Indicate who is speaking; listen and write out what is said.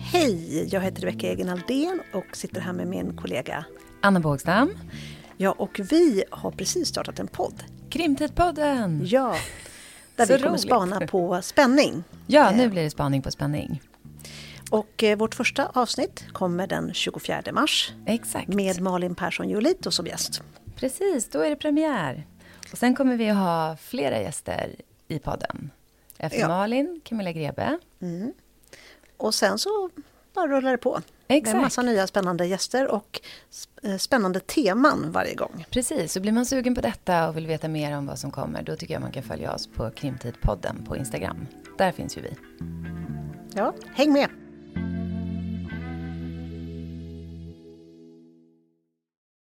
Speaker 1: Hej, jag heter Rebecka Egenaldén och sitter här med min kollega
Speaker 2: Anna Bågstam.
Speaker 1: Ja, och vi har precis startat en podd.
Speaker 2: Krimtidpodden!
Speaker 1: Ja, där
Speaker 2: Så
Speaker 1: vi kommer
Speaker 2: roligt.
Speaker 1: spana på spänning.
Speaker 2: Ja,
Speaker 1: Eh.
Speaker 2: nu blir det spaning på spänning.
Speaker 1: Och eh, vårt första avsnitt kommer den 24 mars
Speaker 2: Exakt.
Speaker 1: med Malin Persson Julito som gäst.
Speaker 2: Precis, då är det premiär. Och sen kommer vi att ha flera gäster i podden. Efter
Speaker 1: Ja.
Speaker 2: Malin, Camilla Grebe.
Speaker 1: Och sen så bara rullar det på. Med
Speaker 2: Exakt.
Speaker 1: massa nya spännande gäster och sp- eh, spännande teman varje gång.
Speaker 2: Precis, så blir man sugen på detta och vill veta mer om vad som kommer, då tycker jag man kan följa oss på Krimtidpodden på Instagram. Där finns ju vi.
Speaker 1: Ja, häng med!